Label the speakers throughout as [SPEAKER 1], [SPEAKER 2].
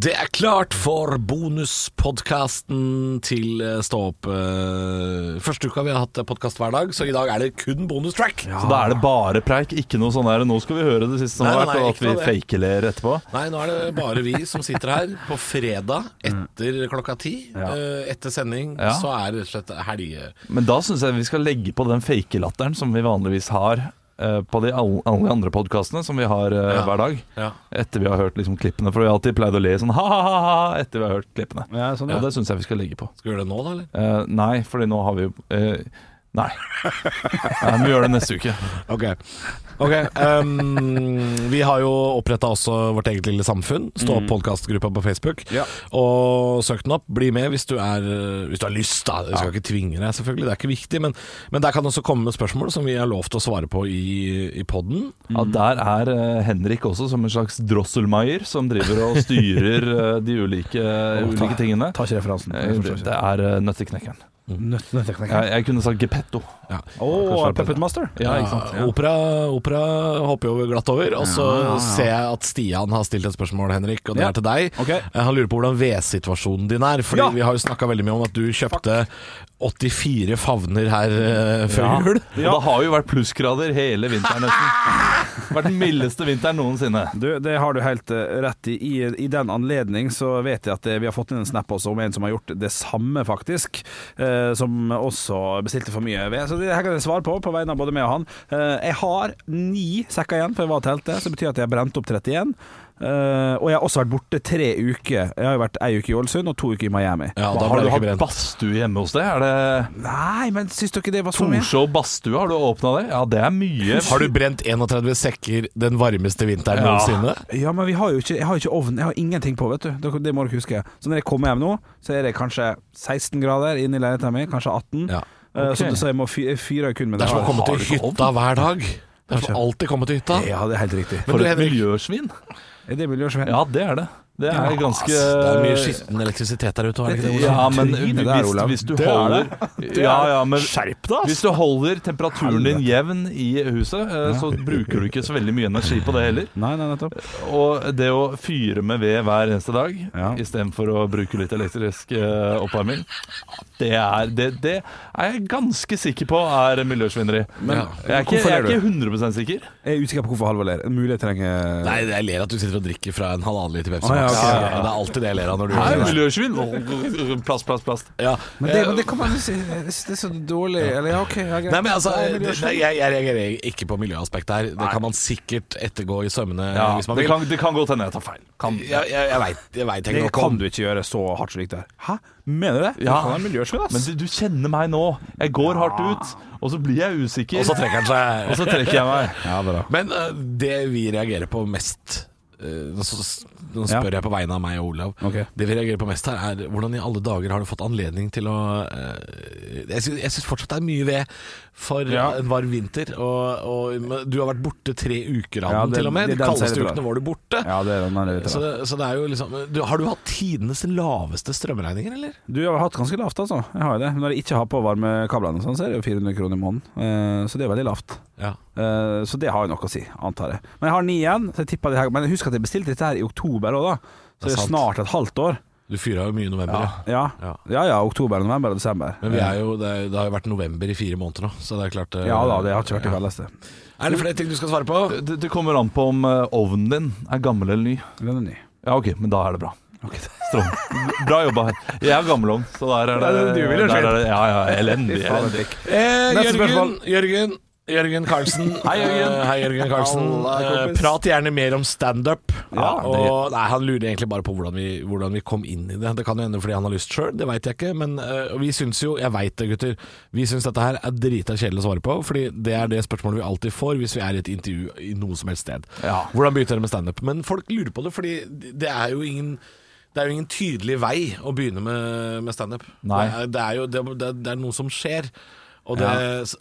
[SPEAKER 1] Det er klart for bonuspodkasten til eh, Stå opp. eh, Første uka vi har hatt podkast hver dag, så i dag er det kun bonustrack.
[SPEAKER 2] Så da er det bare preik, ikke noe sånn der Nå skal vi høre det siste som
[SPEAKER 1] Nei, nei,
[SPEAKER 2] har vært, og at
[SPEAKER 1] ikke
[SPEAKER 2] vi
[SPEAKER 1] noe det.
[SPEAKER 2] fakeler etterpå.
[SPEAKER 1] Nei, nå er det bare vi som sitter her på fredag etter klokka ti. Eh, Etter sending
[SPEAKER 2] Ja.
[SPEAKER 1] så er det rett og slett helge...
[SPEAKER 2] Men da syns jeg vi skal legge på den fakelatteren som vi vanligvis har eh, på de all- alle andre podkastene som vi har eh,
[SPEAKER 1] Ja.
[SPEAKER 2] hver dag.
[SPEAKER 1] Ja.
[SPEAKER 2] Etter vi har hørt liksom klippene, for vi har alltid pleid å le sånn ha-ha-ha etter vi har hørt klippene.
[SPEAKER 3] Ja, sånn,
[SPEAKER 2] Og det syns jeg vi skal legge på.
[SPEAKER 1] Skal vi gjøre det nå, da? eller?
[SPEAKER 2] Eh, nei, fordi nå har vi jo eh, Nei. nei. Vi gjør det neste uke.
[SPEAKER 1] Ok, Ok, ehm, Vi har jo oppretta også vårt eget lille samfunn. Stå opp podkastgruppa på Facebook.
[SPEAKER 3] Ja.
[SPEAKER 1] Og søk den opp. Bli med hvis du, er, hvis du har lyst, da. Vi skal ikke tvinge deg, selvfølgelig. Det er ikke viktig. Men, men der kan det også komme spørsmål som vi har lovt å svare på i, i poden.
[SPEAKER 2] Ja, der er eh, Henrik også som en slags drosselmeier som driver og styrer eh, de ulike, ulike tingene.
[SPEAKER 3] Tar ikke referansen.
[SPEAKER 2] Eh, Det er eh, Nøtteknekkeren.
[SPEAKER 3] Nøtt- Nøtteknekker.
[SPEAKER 2] Jeg, jeg kunne sagt Geppetto.
[SPEAKER 1] Ja.
[SPEAKER 3] Å, Puppet Master.
[SPEAKER 2] Ja, ikke sant?
[SPEAKER 1] Ja, opera, opera hopper jo glatt over. Og så ser jeg at Stian har stilt et spørsmål, Henrik, og det
[SPEAKER 3] Ja.
[SPEAKER 1] er til deg.
[SPEAKER 3] Ok.
[SPEAKER 1] Eh, Han lurer på hvordan vedsituasjonen din er. Fordi
[SPEAKER 3] Ja.
[SPEAKER 1] vi har jo snakka veldig mye om at du kjøpte 84 favner her eh, før jul.
[SPEAKER 2] Og det har jo vært plussgrader hele vinteren nesten. Vært den mildeste vinteren noensinne.
[SPEAKER 3] Du, det har du helt eh, rett i. I, i den anledning så vet jeg at eh, vi har fått inn en snap også om en som har gjort det samme, faktisk. eh, som også bestilte for mye ved. Så det her kan jeg svare på, på vegne av både meg og han. Eh, jeg har ni sekker igjen, for jeg var og telte. Så det betyr at jeg har brent opp 31. eh, og jeg har også vært borte tre uker. Jeg har jo vært ei uke i Ålesund og to uker i Miami.
[SPEAKER 1] Ja, da
[SPEAKER 2] har
[SPEAKER 1] ble
[SPEAKER 2] du
[SPEAKER 1] det ikke
[SPEAKER 2] hatt
[SPEAKER 1] brent.
[SPEAKER 2] badstue hjemme hos deg? Er det
[SPEAKER 3] Nei, men syns dere det var så mye?
[SPEAKER 2] Torshov badstue? Har du åpna det? Ja, det er mye.
[SPEAKER 1] Har du brent 31 sekker den varmeste vinteren
[SPEAKER 2] Ja.
[SPEAKER 1] noensinne?
[SPEAKER 3] Ja, men vi har jo ikke, jeg har jo ikke ovn. Jeg har ingenting på, vet du. Det, det må dere huske. Så når jeg kommer hjem nå, så er det kanskje 16 grader inne i leiligheten min. Kanskje 18.
[SPEAKER 1] Ja.
[SPEAKER 3] Eh,
[SPEAKER 2] Ok.
[SPEAKER 3] Så, så jeg må fy- jeg fyrer kun med
[SPEAKER 1] Det er som å
[SPEAKER 3] her.
[SPEAKER 1] komme
[SPEAKER 2] Har
[SPEAKER 1] til
[SPEAKER 2] du ikke
[SPEAKER 1] hytta hver dag. Det er som å
[SPEAKER 3] Kanskje.
[SPEAKER 1] alltid komme til hytta.
[SPEAKER 3] Ja, det er helt riktig.
[SPEAKER 1] Men
[SPEAKER 2] For
[SPEAKER 1] du,
[SPEAKER 2] et
[SPEAKER 1] Henrik,
[SPEAKER 2] miljøsvin.
[SPEAKER 3] Er det miljøsvin?
[SPEAKER 2] Ja, det er det. Det er ganske
[SPEAKER 1] ass, det er mye skitten elektrisitet der ute. er det ikke det, Olav?
[SPEAKER 2] Ja, men
[SPEAKER 3] Trynet
[SPEAKER 2] hvis,
[SPEAKER 3] der, Olav.
[SPEAKER 2] hvis du
[SPEAKER 3] Det er
[SPEAKER 2] holder ja, ja, men,
[SPEAKER 3] Skjerp deg, ass.
[SPEAKER 2] Hvis du holder temperaturen din jevn i huset, eh, så bruker du ikke så veldig mye energi på det heller.
[SPEAKER 3] Nei, nei, nettopp.
[SPEAKER 2] Og det å fyre med ved hver eneste dag
[SPEAKER 3] Ja.
[SPEAKER 2] istedenfor å bruke litt elektrisk eh, oppvarming, det er, det, det er jeg ganske sikker på er miljøsvinneri.
[SPEAKER 3] Men
[SPEAKER 2] Jeg er ikke, jeg
[SPEAKER 3] hvorfor ler
[SPEAKER 2] er
[SPEAKER 3] du?
[SPEAKER 2] ikke 100 sikker.
[SPEAKER 3] Jeg er usikker på hvorfor Halvor ler. Mulig jeg trenger
[SPEAKER 1] Nei, jeg ler at du sitter og drikker fra en halvannen liter Pepsi
[SPEAKER 3] Å, ja,
[SPEAKER 1] Max.
[SPEAKER 3] ok.
[SPEAKER 1] Ja, Det er alltid det jeg ler av når du
[SPEAKER 2] Nei,
[SPEAKER 1] gjør det.
[SPEAKER 2] miljøsvin! Plast, plast, plast.
[SPEAKER 1] Ja.
[SPEAKER 3] Men det, men det kan man jo si Jeg synes Det er så dårlig. Eller ja, OK, ja, greit.
[SPEAKER 1] Nei, men altså,
[SPEAKER 3] Det er
[SPEAKER 1] det,
[SPEAKER 3] miljøsvin.
[SPEAKER 1] det, jeg, jeg reagerer ikke på miljøaspektet her. Det kan man sikkert ettergå i sømmene
[SPEAKER 2] Ja,
[SPEAKER 1] hvis man
[SPEAKER 2] det,
[SPEAKER 1] vil.
[SPEAKER 2] kan, det kan godt hende jeg tar feil. Kan.
[SPEAKER 1] Jeg, jeg, jeg veit jeg vet ikke
[SPEAKER 3] det
[SPEAKER 1] nok om
[SPEAKER 3] kan du ikke gjøre så hardt slik det er. Hæ? Mener du det?
[SPEAKER 2] Ja.
[SPEAKER 3] Du kan være miljøsvin, ass.
[SPEAKER 2] Men du, du kjenner meg nå. Jeg går hardt ut, og så blir jeg usikker.
[SPEAKER 1] Og så trekker han
[SPEAKER 2] Og
[SPEAKER 1] seg.
[SPEAKER 2] så trekker jeg meg.
[SPEAKER 3] Ja, bra.
[SPEAKER 1] Men eh, det vi reagerer på mest eh, Nå s- nå
[SPEAKER 3] Ja.
[SPEAKER 1] spør jeg på vegne av meg og Olav.
[SPEAKER 3] Ok.
[SPEAKER 1] Det vi reagerer på mest her, er hvordan i alle dager har du fått anledning til å eh, Jeg sy- jeg syns fortsatt det er mye ved for
[SPEAKER 3] Ja.
[SPEAKER 1] en varm vinter. Og, og men du har vært borte tre uker av
[SPEAKER 3] Ja,
[SPEAKER 1] den,
[SPEAKER 3] det-
[SPEAKER 1] til og med.
[SPEAKER 3] det-
[SPEAKER 1] De
[SPEAKER 3] den ser
[SPEAKER 1] kaldeste
[SPEAKER 3] litt rar.
[SPEAKER 1] ukene var du borte.
[SPEAKER 3] Ja, det er den der litt
[SPEAKER 1] Så,
[SPEAKER 3] rar.
[SPEAKER 1] så det er jo liksom du, Har du hatt tidenes laveste strømregninger, eller?
[SPEAKER 3] Du jeg har hatt ganske lavt, altså. Jeg har jo det. Når jeg ikke har på varmekablene, og sånn, så er det jo 400 kroner i måneden. Eh, Så det er veldig lavt.
[SPEAKER 1] Ja.
[SPEAKER 3] Eh, Så det har jo noe å si, antar jeg. Men jeg har ni igjen, så jeg tipper det her. Men husk at jeg bestilte dette her i oktober òg, da. Så
[SPEAKER 1] Det er
[SPEAKER 3] det er
[SPEAKER 1] sant.
[SPEAKER 3] snart et halvt år.
[SPEAKER 1] Du fyra jo mye i november, ja.
[SPEAKER 3] Ja.
[SPEAKER 1] Ja.
[SPEAKER 3] ja ja, oktober, november og desember.
[SPEAKER 1] Men vi er jo, det, er- det har jo vært november i fire måneder nå, så det er klart eh,
[SPEAKER 3] Ja da, det har ikke vært det
[SPEAKER 1] ja.
[SPEAKER 3] kaldeste.
[SPEAKER 1] Er det flere ting du skal svare på?
[SPEAKER 2] Det, det kommer an på om eh, ovnen din er gammel eller ny.
[SPEAKER 3] Den er ny.
[SPEAKER 2] Ja, ok, men da er det bra. Strål. Bra jobba her. Jeg er gammel ovn, så der er det,
[SPEAKER 3] Ja, du vil jo
[SPEAKER 2] der
[SPEAKER 3] skjønt.
[SPEAKER 2] er det Ja, ja, elendig. elendig.
[SPEAKER 1] Eh,
[SPEAKER 3] Neste
[SPEAKER 1] Jørgen,
[SPEAKER 3] spørsmål.
[SPEAKER 1] Jørgen Jørgen Karlsen. Hei, Jørgen. hei, Jørgen Karlsen.
[SPEAKER 3] Halla, kompis.
[SPEAKER 1] Eh, Prat gjerne mer om standup.
[SPEAKER 2] Ja, det-
[SPEAKER 1] Og- nei, han lurer egentlig bare på hvordan vi, hvordan vi kom inn i det. Det kan jo hende fordi han har lyst sjøl, det veit jeg ikke. Men eh, vi syns jo, jeg veit det gutter, vi syns dette her er drita kjedelig å svare på. Fordi det er det spørsmålet vi alltid får hvis vi er i et intervju i noe som helst sted.
[SPEAKER 2] Ja.
[SPEAKER 1] Hvordan begynte dere med standup? Men folk lurer på det, fordi det er jo ingen det er jo ingen tydelig vei å begynne med, med standup.
[SPEAKER 2] Nei.
[SPEAKER 1] Det, er- det er jo det, er- det, er- det er noe som skjer. Og det,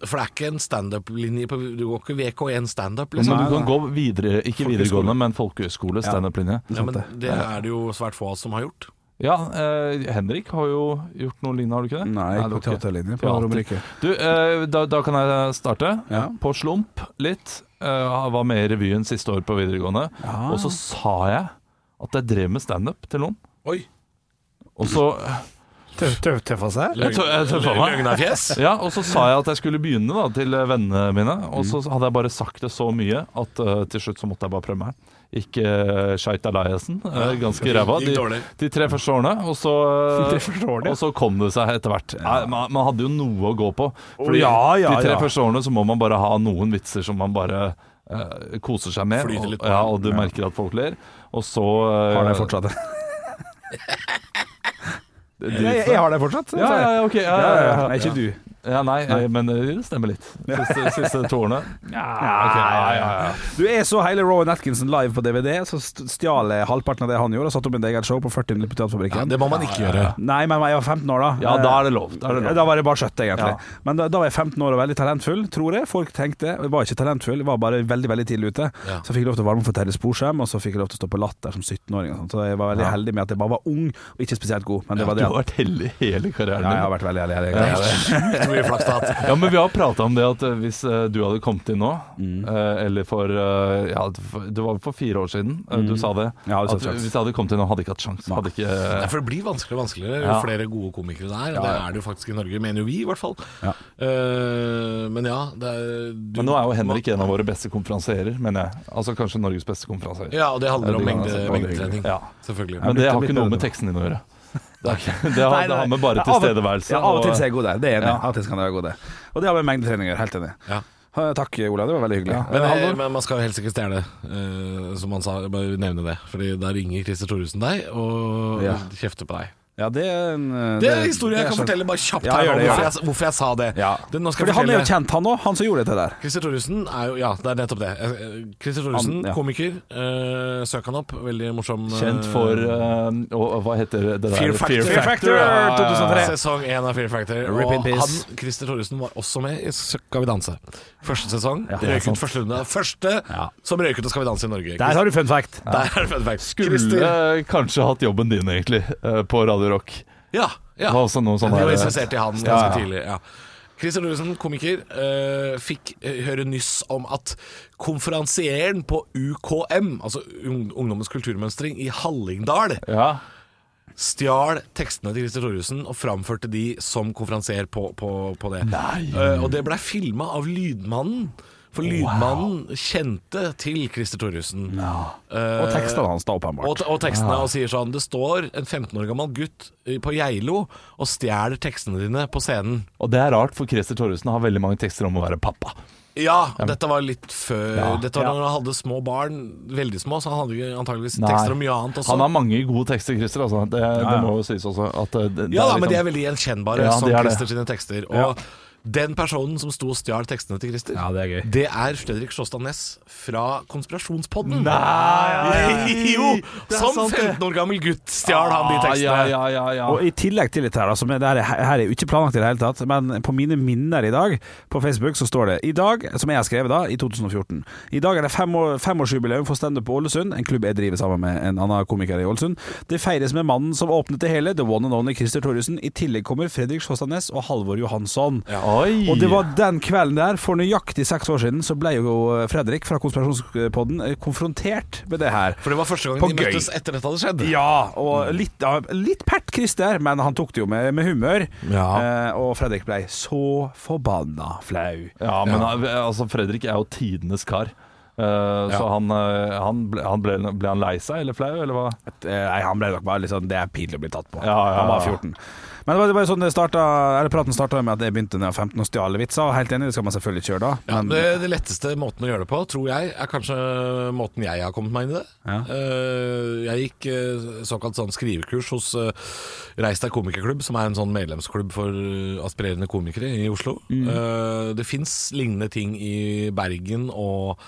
[SPEAKER 1] For det er ikke en standup-linje på Du går ikke VK1 standup, liksom.
[SPEAKER 2] Men du kan gå videre, ikke videregående, men folkehøyskole, standup-linje.
[SPEAKER 1] Ja, men det er det jo svært få av oss som har gjort.
[SPEAKER 2] Ja, eh, Henrik har jo gjort noe lignende, har du ikke det?
[SPEAKER 3] Nei, jeg gikk
[SPEAKER 2] det
[SPEAKER 3] på
[SPEAKER 2] var ikke-
[SPEAKER 3] teaterlinjen på
[SPEAKER 2] Teater.
[SPEAKER 3] Romerike.
[SPEAKER 2] Du, eh, da, da kan jeg starte.
[SPEAKER 3] Ja.
[SPEAKER 2] På slump litt. Eh, jeg var med i revyen siste år på videregående. Og så sa jeg at jeg drev med standup til noen.
[SPEAKER 1] Oi.
[SPEAKER 2] Og så
[SPEAKER 3] Tøffa seg?
[SPEAKER 2] Jeg tø- jeg tøffa meg.
[SPEAKER 1] Løgnafjes?
[SPEAKER 2] Ja, og så sa jeg at jeg skulle begynne da, til eh, vennene mine. Og så
[SPEAKER 3] Mm.
[SPEAKER 2] hadde jeg bare sagt det så mye at eh, til slutt så måtte jeg bare prøve meg. Gikk uh, skeit Eliassen, eh, ganske ræva,
[SPEAKER 1] Gikk
[SPEAKER 2] de,
[SPEAKER 1] dårlig.
[SPEAKER 2] de tre første årene. Og så, eh,
[SPEAKER 3] De tre første årene?
[SPEAKER 2] og så kom det seg etter hvert. Nei, man, man hadde jo noe å gå på. Fordi
[SPEAKER 3] ja, ja,
[SPEAKER 2] de tre
[SPEAKER 3] ja.
[SPEAKER 2] første årene så må man bare ha noen vitser som man bare eh, koser seg med.
[SPEAKER 1] Flyter litt
[SPEAKER 2] Og,
[SPEAKER 1] på.
[SPEAKER 2] ja, og du merker at folk ler. Og så eh,
[SPEAKER 3] Har de fortsatt det?
[SPEAKER 2] de-
[SPEAKER 3] Jeg, jeg har det fortsatt.
[SPEAKER 2] ja, ja, ja, ok. Ja, ja, ja, ja.
[SPEAKER 3] Nei, ikke du.
[SPEAKER 2] Ja, nei, eh, men eh, det stemmer litt. Siste, siste to årene. ok, ja, ja, ja.
[SPEAKER 3] Du jeg så hele Rowan Atkinson live på DVD, så st- stjal jeg halvparten av det han gjorde, og satte opp mitt eget show på 40 minutter
[SPEAKER 1] Ja,
[SPEAKER 3] på Teaterfabrikken.
[SPEAKER 1] det må man ikke gjøre.
[SPEAKER 3] Nei, men jeg var 15 år da. Eh,
[SPEAKER 2] Ja, da er det lov. Da
[SPEAKER 3] Da,
[SPEAKER 2] er det lov.
[SPEAKER 3] var det bare skjøtt, egentlig. Men da, da var jeg 15 år og veldig talentfull, tror jeg. Folk tenkte Jeg var ikke talentfull, jeg var bare veldig veldig tidlig ute.
[SPEAKER 1] Ja.
[SPEAKER 3] Så fikk jeg lov til å varme opp for Terje Sporsem, og så fikk jeg lov til å stå på Latter som 17-åring. og sånt. Så jeg var veldig heldig med at jeg bare var ung og ikke spesielt god. Men det var
[SPEAKER 2] Du
[SPEAKER 3] det.
[SPEAKER 2] har vært heldig hele karrieren
[SPEAKER 3] Ja, jeg har
[SPEAKER 2] din.
[SPEAKER 3] vært veldig heldig. heldig, heldig.
[SPEAKER 1] Ikke mye flaks da.
[SPEAKER 2] Ja, men vi har prata om det at eh, hvis eh, du hadde kommet inn nå,
[SPEAKER 3] Mm.
[SPEAKER 2] eh, eller for eh, Ja, for- det var vel for fire år siden eh, du sa det.
[SPEAKER 3] Mm. Ja, det sa
[SPEAKER 2] at
[SPEAKER 3] sjans.
[SPEAKER 2] hvis jeg hadde kommet inn nå, hadde jeg ikke hatt sjans. Hadde ikke
[SPEAKER 1] Nei,
[SPEAKER 2] eh,
[SPEAKER 1] for det blir vanskeligere og vanskeligere jo
[SPEAKER 2] Ja.
[SPEAKER 1] flere gode komikere det er. Og
[SPEAKER 3] Ja,
[SPEAKER 1] det
[SPEAKER 3] ja.
[SPEAKER 1] er det jo faktisk i Norge, mener jo vi i hvert fall.
[SPEAKER 3] Ja.
[SPEAKER 1] Eh, men ja, det er du-
[SPEAKER 2] Men nå er jo Henrik en av våre beste konferansierer, mener jeg. Altså kanskje Norges beste konferansierer.
[SPEAKER 1] Ja, og det handler om
[SPEAKER 2] Ja, det
[SPEAKER 1] mengde,
[SPEAKER 2] er
[SPEAKER 1] mengdetrening.
[SPEAKER 2] Ja.
[SPEAKER 1] Selvfølgelig.
[SPEAKER 2] Men
[SPEAKER 3] blitt-
[SPEAKER 2] det har
[SPEAKER 3] blitt
[SPEAKER 2] ikke noe
[SPEAKER 3] bedre
[SPEAKER 2] med
[SPEAKER 3] nå.
[SPEAKER 2] teksten din å gjøre. Det, er ikke, det, har,
[SPEAKER 3] Nei, nei.
[SPEAKER 2] det har med bare
[SPEAKER 3] Ja, av og-
[SPEAKER 2] tilstedeværelse
[SPEAKER 3] Ja, av og til
[SPEAKER 2] og-
[SPEAKER 3] så er jeg god der. Det er enig.
[SPEAKER 2] Ja.
[SPEAKER 3] Av og til kan jeg være god der. Og det har med mengdetrening å gjøre. Helt enig.
[SPEAKER 1] Ja.
[SPEAKER 3] Ha, Takk, Olav. Det var veldig hyggelig.
[SPEAKER 1] Men,
[SPEAKER 3] Eh,
[SPEAKER 1] eh,
[SPEAKER 3] Halvor?
[SPEAKER 1] men man skal jo helst ikke stjele, eh, som han sa. Bare nevne det. Fordi da ringer Christer Thoresen deg og
[SPEAKER 3] Ja.
[SPEAKER 1] kjefter på deg.
[SPEAKER 3] Ja, det er en eh,
[SPEAKER 1] Det er sånn- en historie jeg
[SPEAKER 3] det er
[SPEAKER 1] kan
[SPEAKER 3] sant.
[SPEAKER 1] fortelle bare kjapt
[SPEAKER 3] Ja,
[SPEAKER 1] her
[SPEAKER 3] gjør
[SPEAKER 1] nå,
[SPEAKER 3] det, gjør
[SPEAKER 1] hvorfor,
[SPEAKER 3] det.
[SPEAKER 1] jeg, hvorfor jeg sa det.
[SPEAKER 3] Ja.
[SPEAKER 1] Det, nå skal
[SPEAKER 3] Fordi
[SPEAKER 1] jeg
[SPEAKER 3] han er jo
[SPEAKER 1] fortelle-
[SPEAKER 3] kjent, han òg. Han som gjorde dette der.
[SPEAKER 1] Christer Thoresen er jo Ja, det er nettopp det. Eh, eh, Christer Thoresen,
[SPEAKER 3] Han- ja.
[SPEAKER 1] komiker. Eh, søk han opp. Veldig morsom. eh,
[SPEAKER 2] Kjent for eh, og, og Hva heter det der?
[SPEAKER 1] Fear Factor. Fear
[SPEAKER 3] Factor,
[SPEAKER 2] Ja, ja, ja.
[SPEAKER 3] 2003.
[SPEAKER 1] Sesong én av Fear Factor.
[SPEAKER 3] Rip in
[SPEAKER 1] Og
[SPEAKER 3] peace.
[SPEAKER 1] han, Christer Thoresen var også med i Skal vi danse. Første sesong.
[SPEAKER 2] Ja, det er
[SPEAKER 1] røyk
[SPEAKER 2] sant.
[SPEAKER 1] ut første runde. Første som røyk ut av Skal vi danse i Norge.
[SPEAKER 3] Der har du fun fact.
[SPEAKER 1] Der er det fun fact.
[SPEAKER 2] Skulle
[SPEAKER 1] Christer-
[SPEAKER 2] eh, kanskje hatt jobben din, egentlig, eh, på Radio Rock.
[SPEAKER 1] Ja, ja.
[SPEAKER 2] Det var også noe sånn
[SPEAKER 1] De
[SPEAKER 2] her,
[SPEAKER 1] var
[SPEAKER 2] eh,
[SPEAKER 1] interessert i han ganske
[SPEAKER 2] ja, ja.
[SPEAKER 1] tidlig. Ja. Christian Ludvigsen, komiker, eh, fikk eh, høre nyss om at konferansieren på UKM, altså Ung- Ungdommens kulturmønstring, i Hallingdal,
[SPEAKER 2] Ja.
[SPEAKER 1] stjal tekstene til Christer Thoresen og framførte de som konferansier på, på, på det. Eh, og det blei filma av Lydmannen. For Lydmannen kjente til Christer Thoresen. Eh,
[SPEAKER 3] Og tekstene hans, da, åpenbart.
[SPEAKER 1] og, te- og tekstene og sier sånn Det står en 15 år gammel gutt i- på Geilo og stjeler tekstene dine på scenen.
[SPEAKER 2] Og det er rart, for Christer Thoresen har veldig mange tekster om å være pappa.
[SPEAKER 1] Ja, dette var litt før
[SPEAKER 2] Ja.
[SPEAKER 1] Dette var da
[SPEAKER 2] Ja.
[SPEAKER 1] han hadde små barn, veldig små, så han hadde ikke antageligvis
[SPEAKER 2] Nei.
[SPEAKER 1] tekster om mye annet også.
[SPEAKER 2] Han har mange gode tekster, Christer. Altså. Det, det må jo sies også. At eh, det, det
[SPEAKER 1] ja, da,
[SPEAKER 2] liksom-
[SPEAKER 1] men de er veldig gjenkjennbare
[SPEAKER 2] Ja,
[SPEAKER 1] som
[SPEAKER 2] de er det.
[SPEAKER 1] Christer sine tekster. Og den personen som sto og stjal tekstene til Christer,
[SPEAKER 3] Ja, det er gøy.
[SPEAKER 1] det er Fredrik Sjåstad Næss fra Konspirasjonspodden.
[SPEAKER 2] Nei!
[SPEAKER 1] jo!
[SPEAKER 2] Det er
[SPEAKER 1] Som
[SPEAKER 2] sant, det.
[SPEAKER 1] 15 år gammel gutt stjal han de tekstene.
[SPEAKER 2] Ah, Ja, ja, ja, ja.
[SPEAKER 3] Og i tillegg til dette her, da, som er, det her, er- her er jo ikke planlagt i det hele tatt, men på mine minner i dag, på Facebook, så står det I dag, som jeg har skrevet da, i 2014 I dag er det fem år- femårsjubileum for standup på Ålesund, en klubb jeg driver sammen med en annen komiker i Ålesund. Det feires med mannen som åpnet det hele, the one and only Christer Thoresen. I tillegg kommer Fredrik Sjåstad Næss og Halvor Johansson.
[SPEAKER 2] Oi!
[SPEAKER 3] Og det var den kvelden der, for nøyaktig seks år siden, så ble jo eh, Fredrik fra Konspirasjonspodden eh, konfrontert med det her.
[SPEAKER 1] For det var første gang
[SPEAKER 3] På
[SPEAKER 1] de
[SPEAKER 3] gøy.
[SPEAKER 1] møttes etter dette hadde skjedd.
[SPEAKER 3] Ja, og litt, av- litt pert Christer, men han tok det jo med, med humør.
[SPEAKER 1] Ja.
[SPEAKER 3] Eh, og Fredrik ble så forbanna flau.
[SPEAKER 2] Ja, men eh, altså, Fredrik er jo tidenes kar. Eh, Så han, eh, han, ble, han ble, ble han lei seg eller flau, eller hva?
[SPEAKER 3] At, eh, Nei, han ble nok bare litt sånn Det er pinlig å bli tatt på.
[SPEAKER 2] Ja, ja,
[SPEAKER 3] han var
[SPEAKER 2] ja.
[SPEAKER 3] 14. Men det var det var jo sånn det starta, eller praten starta med at jeg begynte da jeg var 15 og stjal vitser. og Helt enig, det skal man selvfølgelig ikke gjøre da.
[SPEAKER 1] Ja,
[SPEAKER 3] men-
[SPEAKER 1] det, det letteste måten å gjøre det på, tror jeg, er kanskje måten jeg har kommet meg inn i det.
[SPEAKER 3] Ja.
[SPEAKER 1] Eh, jeg gikk eh, såkalt sånn skrivekurs hos uh, Reis deg komikerklubb, som er en sånn medlemsklubb for eh, aspirerende komikere i Oslo. Eh, det fins lignende ting i Bergen og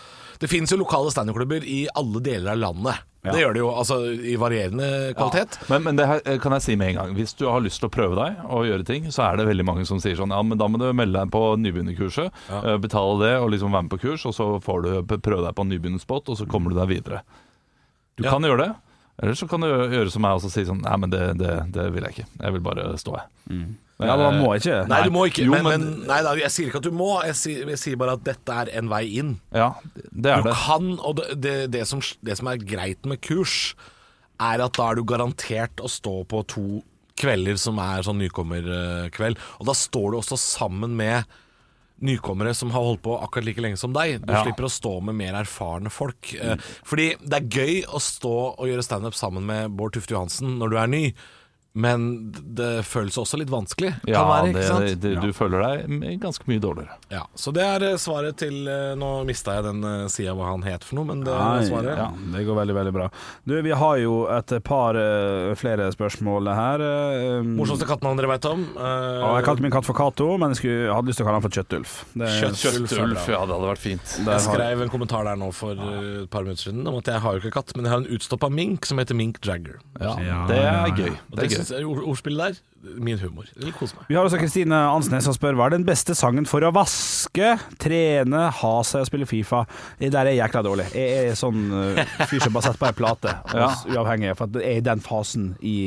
[SPEAKER 1] Det fins jo lokale standup-klubber i alle deler av landet.
[SPEAKER 3] Ja.
[SPEAKER 1] Det gjør det jo, altså i varierende kvalitet.
[SPEAKER 2] Men, men det her eh, kan jeg si med en gang. Hvis du har lyst til å prøve deg og gjøre ting, så er det veldig mange som sier sånn Ja, men da må du melde deg på nybegynnerkurset, eh, betale det og liksom være med på kurs, og så får du p- prøve deg på en nybegynnerspot, og så kommer du deg videre. Du
[SPEAKER 1] Ja.
[SPEAKER 2] kan gjøre det. Eller så kan du gjøre gjøre som meg og så si sånn Nei, men det, det, det vil jeg ikke. Jeg vil bare stå, jeg.
[SPEAKER 3] ja, man må ikke
[SPEAKER 1] Nei, du må ikke.
[SPEAKER 2] Jo,
[SPEAKER 1] men, men,
[SPEAKER 2] men-
[SPEAKER 1] nei da, jeg sier ikke at du må, jeg sier, jeg sier bare at dette er en vei inn.
[SPEAKER 2] Ja, det er
[SPEAKER 1] Du
[SPEAKER 2] det.
[SPEAKER 1] kan, og det, det, det, som, det som er greit med kurs, er at da er du garantert å stå på to kvelder som er sånn nykommerkveld. Og da står du også sammen med nykommere som har holdt på akkurat like lenge som deg. Du
[SPEAKER 2] Ja.
[SPEAKER 1] slipper å stå med mer erfarne folk. Eh, Fordi det er gøy å stå og gjøre standup sammen med Bård Tufte Johansen når du er ny. Men det føles også litt vanskelig. Kan
[SPEAKER 2] Ja,
[SPEAKER 1] være, ikke
[SPEAKER 2] det,
[SPEAKER 1] sant?
[SPEAKER 2] det, du føler deg ganske mye dårligere.
[SPEAKER 1] Ja, så det er eh, svaret til eh, Nå mista jeg den eh, sida hva han het for noe, men det er
[SPEAKER 3] Nei,
[SPEAKER 1] svaret.
[SPEAKER 3] ja, det går veldig, veldig bra. Du, vi har jo et par eh, flere spørsmål her. eh, um,
[SPEAKER 1] Morsomste kattenavn dere veit om? eh,
[SPEAKER 3] og jeg kalte min katt for Cato, men jeg skulle, jeg hadde lyst til å kalle han for Kjøttulf. Det er-
[SPEAKER 1] Kjøttulf, er bra.
[SPEAKER 2] det hadde vært fint.
[SPEAKER 3] der
[SPEAKER 1] Jeg
[SPEAKER 3] har-
[SPEAKER 1] Eh, skrev en kommentar der nå for eh, et par minutter siden om at jeg har jo ikke katt, men jeg har en utstoppa mink som heter Mink Dragger.
[SPEAKER 2] Ja,
[SPEAKER 3] Ja,
[SPEAKER 2] det
[SPEAKER 3] ja,
[SPEAKER 2] er gøy.
[SPEAKER 3] ja.
[SPEAKER 1] Og
[SPEAKER 2] Det
[SPEAKER 1] det
[SPEAKER 2] er gøy.
[SPEAKER 1] synes jeg, ord- Ordspillet der, min humor. Eller kos meg.
[SPEAKER 3] Vi har også Kristine Ansnes som spør hva er den beste sangen for å vaske, trene, ha seg og spille Fifa. Det Der er jeg jækla dårlig. Jeg er sånn eh, fyr som bare setter på ei plate, og
[SPEAKER 2] Ja.
[SPEAKER 3] s- uavhengig. For at jeg er i den fasen i,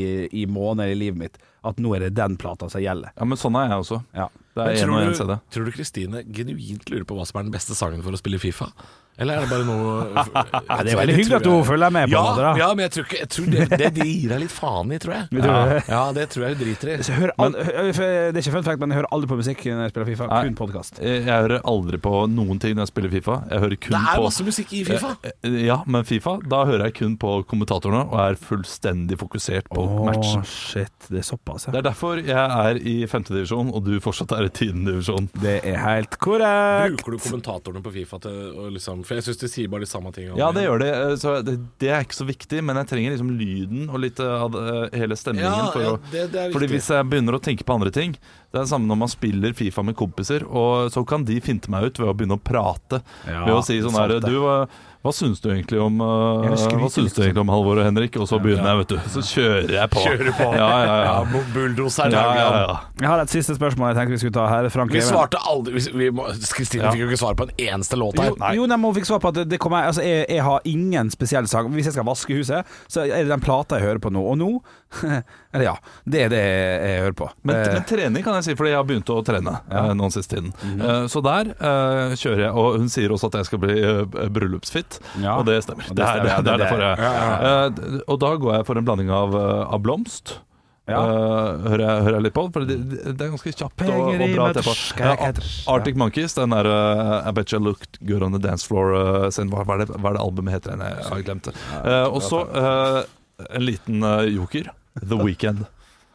[SPEAKER 3] i måneden i livet mitt at nå er det den plata som gjelder.
[SPEAKER 2] Ja, men sånn er jeg også.
[SPEAKER 3] Ja.
[SPEAKER 2] Det
[SPEAKER 1] Men
[SPEAKER 2] er en og en
[SPEAKER 1] tror,
[SPEAKER 2] CD.
[SPEAKER 1] du, tror du Kristine genuint lurer på hva som er den beste sangen for å spille Fifa? Eller er det bare noe
[SPEAKER 3] Ja, det er veldig hyggelig at hun følger med på
[SPEAKER 1] ja,
[SPEAKER 3] en måte, da.
[SPEAKER 1] ja, men jeg tror, ikke, jeg tror det, det de gir deg litt faen i, tror jeg.
[SPEAKER 3] tror
[SPEAKER 1] Ja,
[SPEAKER 3] det.
[SPEAKER 1] ja det tror jeg hun driter i.
[SPEAKER 3] Så jeg hører al- hø- for det er ikke fun fact, men jeg hører aldri på musikk når jeg spiller Fifa,
[SPEAKER 2] Nei.
[SPEAKER 3] kun podkast.
[SPEAKER 2] Jeg jeg hører aldri på noen ting når jeg spiller Fifa. Jeg hører kun
[SPEAKER 1] Det er
[SPEAKER 2] på
[SPEAKER 1] masse musikk i Fifa.
[SPEAKER 2] Eh, Ja, men Fifa, da hører jeg kun på kommentatorene og er fullstendig fokusert på matchen.
[SPEAKER 3] shit. Det er såpass,
[SPEAKER 2] Det
[SPEAKER 3] ja.
[SPEAKER 2] er derfor jeg er i femtedivisjon, og du fortsatt er i tiendedivisjon.
[SPEAKER 3] Det er helt korrekt.
[SPEAKER 1] Bruker du kommentatorene på Fifa til å liksom For jeg syns de sier bare de samme tingene.
[SPEAKER 2] Ja, det gjør det. eh, Så det, det er ikke så viktig, men jeg trenger liksom lyden og litt eh, av eh, hele stemningen.
[SPEAKER 1] Ja,
[SPEAKER 2] for
[SPEAKER 1] ja,
[SPEAKER 2] å
[SPEAKER 1] det, det er
[SPEAKER 2] Fordi
[SPEAKER 1] viktig.
[SPEAKER 2] hvis jeg begynner å tenke på andre ting Det er det samme når man spiller FIFA med kompiser Og så kan de finte meg ut ved å begynne å prate
[SPEAKER 3] Ja,
[SPEAKER 2] Ved å si sånn
[SPEAKER 3] sant
[SPEAKER 2] her
[SPEAKER 3] det.
[SPEAKER 2] Du, hva, hva synes du egentlig om eh,
[SPEAKER 3] Jeg vil skryte
[SPEAKER 2] Hva synes
[SPEAKER 3] litt.
[SPEAKER 2] du egentlig om Halvor og Henrik? Og så begynner jeg, vet du Så kjører jeg på
[SPEAKER 1] Kjører på.
[SPEAKER 2] Ja, ja, ja,
[SPEAKER 1] Ja,
[SPEAKER 2] ja,
[SPEAKER 1] bulldoseren.
[SPEAKER 2] ja, ja, ja.
[SPEAKER 3] Jeg har et siste spørsmål jeg tenkte vi skulle ta her. Frank
[SPEAKER 1] Vi
[SPEAKER 3] Even.
[SPEAKER 1] svarte aldri vi- vi må- Kristine
[SPEAKER 2] Ja.
[SPEAKER 1] fikk jo ikke svar på en eneste låt her.
[SPEAKER 3] Jo, jo nei, men hun fikk svar på at det- det kommer, altså, jeg, jeg har ingen spesiell sang. Hvis jeg skal vaske huset, så er det den plata jeg hører på nå. Og nå Eller ja, det er det jeg hører på.
[SPEAKER 2] Men,
[SPEAKER 3] Eh,
[SPEAKER 2] men trening kan jeg si, fordi jeg har begynt å trene eh, nå den siste tiden.
[SPEAKER 3] Mhm.
[SPEAKER 2] Eh, så der eh, kjører jeg, og hun sier også at jeg skal bli eh, bryllupsfit,
[SPEAKER 3] Ja.
[SPEAKER 2] og det stemmer.
[SPEAKER 3] Og det
[SPEAKER 2] det, er,
[SPEAKER 3] stemmer,
[SPEAKER 2] det,
[SPEAKER 3] ja,
[SPEAKER 2] er- det er
[SPEAKER 3] det-
[SPEAKER 2] derfor jeg
[SPEAKER 1] ja,
[SPEAKER 2] Eh, d- Og da går jeg for en blanding av, eh, av blomst.
[SPEAKER 3] Ja.
[SPEAKER 2] Eh, hører, jeg, hører jeg litt på, for det, det det er ganske kjapt og,
[SPEAKER 3] Penger i
[SPEAKER 2] og bra etterpå.
[SPEAKER 3] meters,
[SPEAKER 2] Ja,
[SPEAKER 3] skæg
[SPEAKER 2] Ar-
[SPEAKER 3] eters.
[SPEAKER 2] Arctic Monkeys, den der eh, I Bet You Looked Good On The Dance Floor eh, sin, hva, hva, er det, hva er det albumet heter igjen? Jeg har glemt det. Eh, og så eh, en liten eh, joker. The Weekend.